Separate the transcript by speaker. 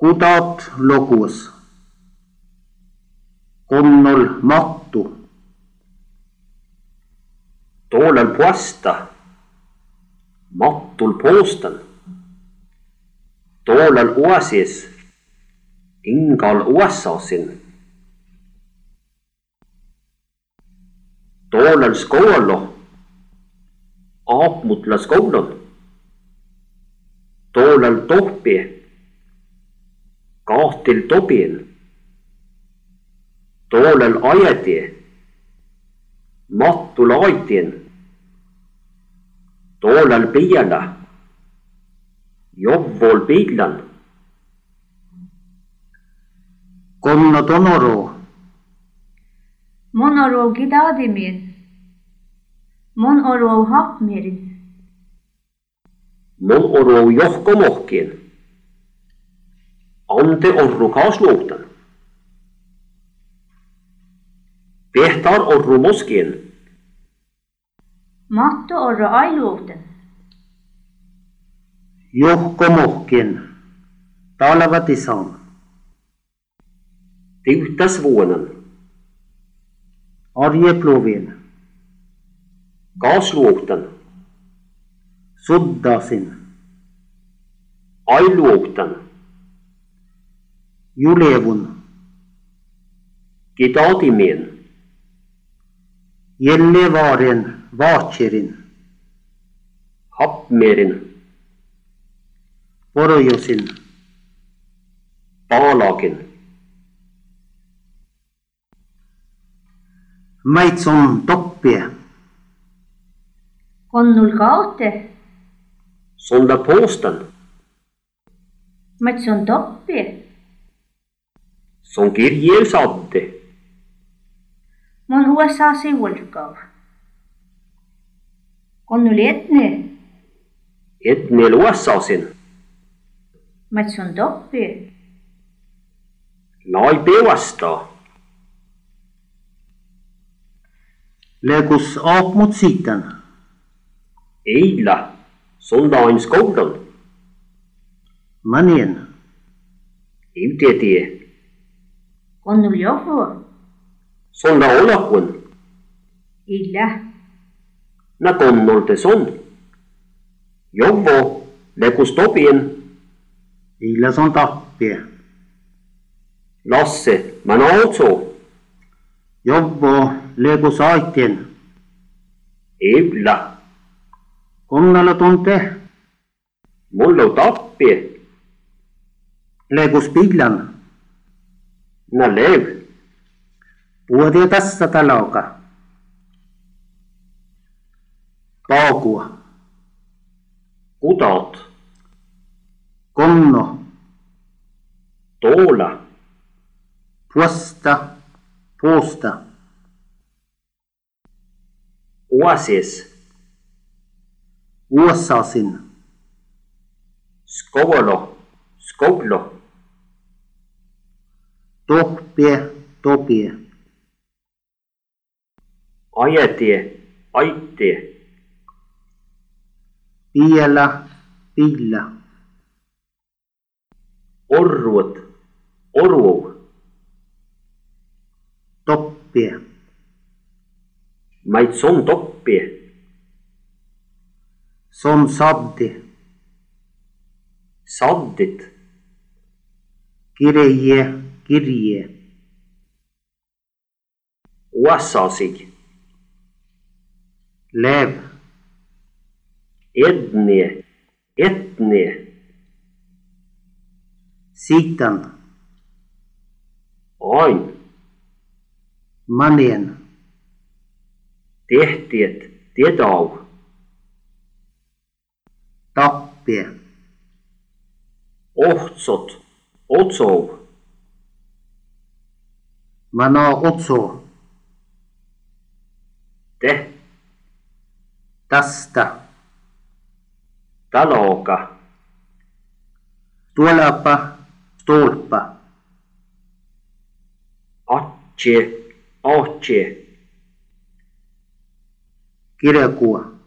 Speaker 1: Kutat logus konnol mattu,
Speaker 2: toolel puasta, mattul puustan, toolel uasis, ingal uassasin. toolel skoolo, aapmutla skoolon, toolel tohpi, kahtil tobil toolel ajeti, mattu laitin, toolel piiela, jovvool piilan,
Speaker 1: konna tonoro,
Speaker 3: Mon orov gidadimir. Mon orov hapmir.
Speaker 2: mul oru johkomohkin, ante orru kaasluutan. Pehtar orru moskin,
Speaker 3: Mattu orra ailuuten.
Speaker 1: johkomohkin, talvatisan,
Speaker 2: tiutas vuonan,
Speaker 1: arjepluvin,
Speaker 2: kaasluutan,
Speaker 1: suddasin,
Speaker 2: ailuutan,
Speaker 1: julevun,
Speaker 2: gidadimien,
Speaker 1: Gällivaren, Vaatjerin,
Speaker 2: hapmerin,
Speaker 1: Porojosin,
Speaker 2: paalakin.
Speaker 1: Maitson toppie,
Speaker 3: Konnul kaute.
Speaker 2: Sonda påstan,
Speaker 3: Matson toppi.
Speaker 2: som kirjeus adde,
Speaker 3: Mon uasasi ulkav. Konnul etne.
Speaker 2: et nel uassasin,
Speaker 3: Matson toppi.
Speaker 2: lai pevasta,
Speaker 1: legus aap mot sitten,
Speaker 2: eila, sonda ain skolan,
Speaker 1: manien,
Speaker 2: iutetie,
Speaker 3: Konnul jovu.
Speaker 2: sonda olakun,
Speaker 3: Illa.
Speaker 2: na konnolte son. Jovo, lekus topien,
Speaker 1: Ilason tappie,
Speaker 2: lasse, mana otso,
Speaker 1: Jobbo, legus aitien,
Speaker 2: eila,
Speaker 1: konnala tunte,
Speaker 2: mullu tappi,
Speaker 1: legus pillan,
Speaker 2: na lev,
Speaker 1: puodia tässä talauka. Paakua,
Speaker 2: kudat,
Speaker 1: konno,
Speaker 2: toola,
Speaker 1: puosta, puosta,
Speaker 2: uasis,
Speaker 1: uossaasin,
Speaker 2: skovolo, skovlo,
Speaker 1: tohpie, topie,
Speaker 2: ajetie, aitie,
Speaker 1: piela, pilla.
Speaker 2: orruot, oru,
Speaker 1: toppie,
Speaker 2: maitson toppi,
Speaker 1: som saddi,
Speaker 2: saddit,
Speaker 1: kirje, kirje,
Speaker 2: uassasig,
Speaker 1: lev,
Speaker 2: ednie, etnie,
Speaker 1: sitan,
Speaker 2: ain,
Speaker 1: manien,
Speaker 2: tehtiet, tedau,
Speaker 1: tappie,
Speaker 2: ohtsot, otsou,
Speaker 1: mana otso,
Speaker 2: te,
Speaker 1: tästä,
Speaker 2: taloga,
Speaker 1: tulapa, stolpa,
Speaker 2: atse, ahtse,
Speaker 1: kirjakua,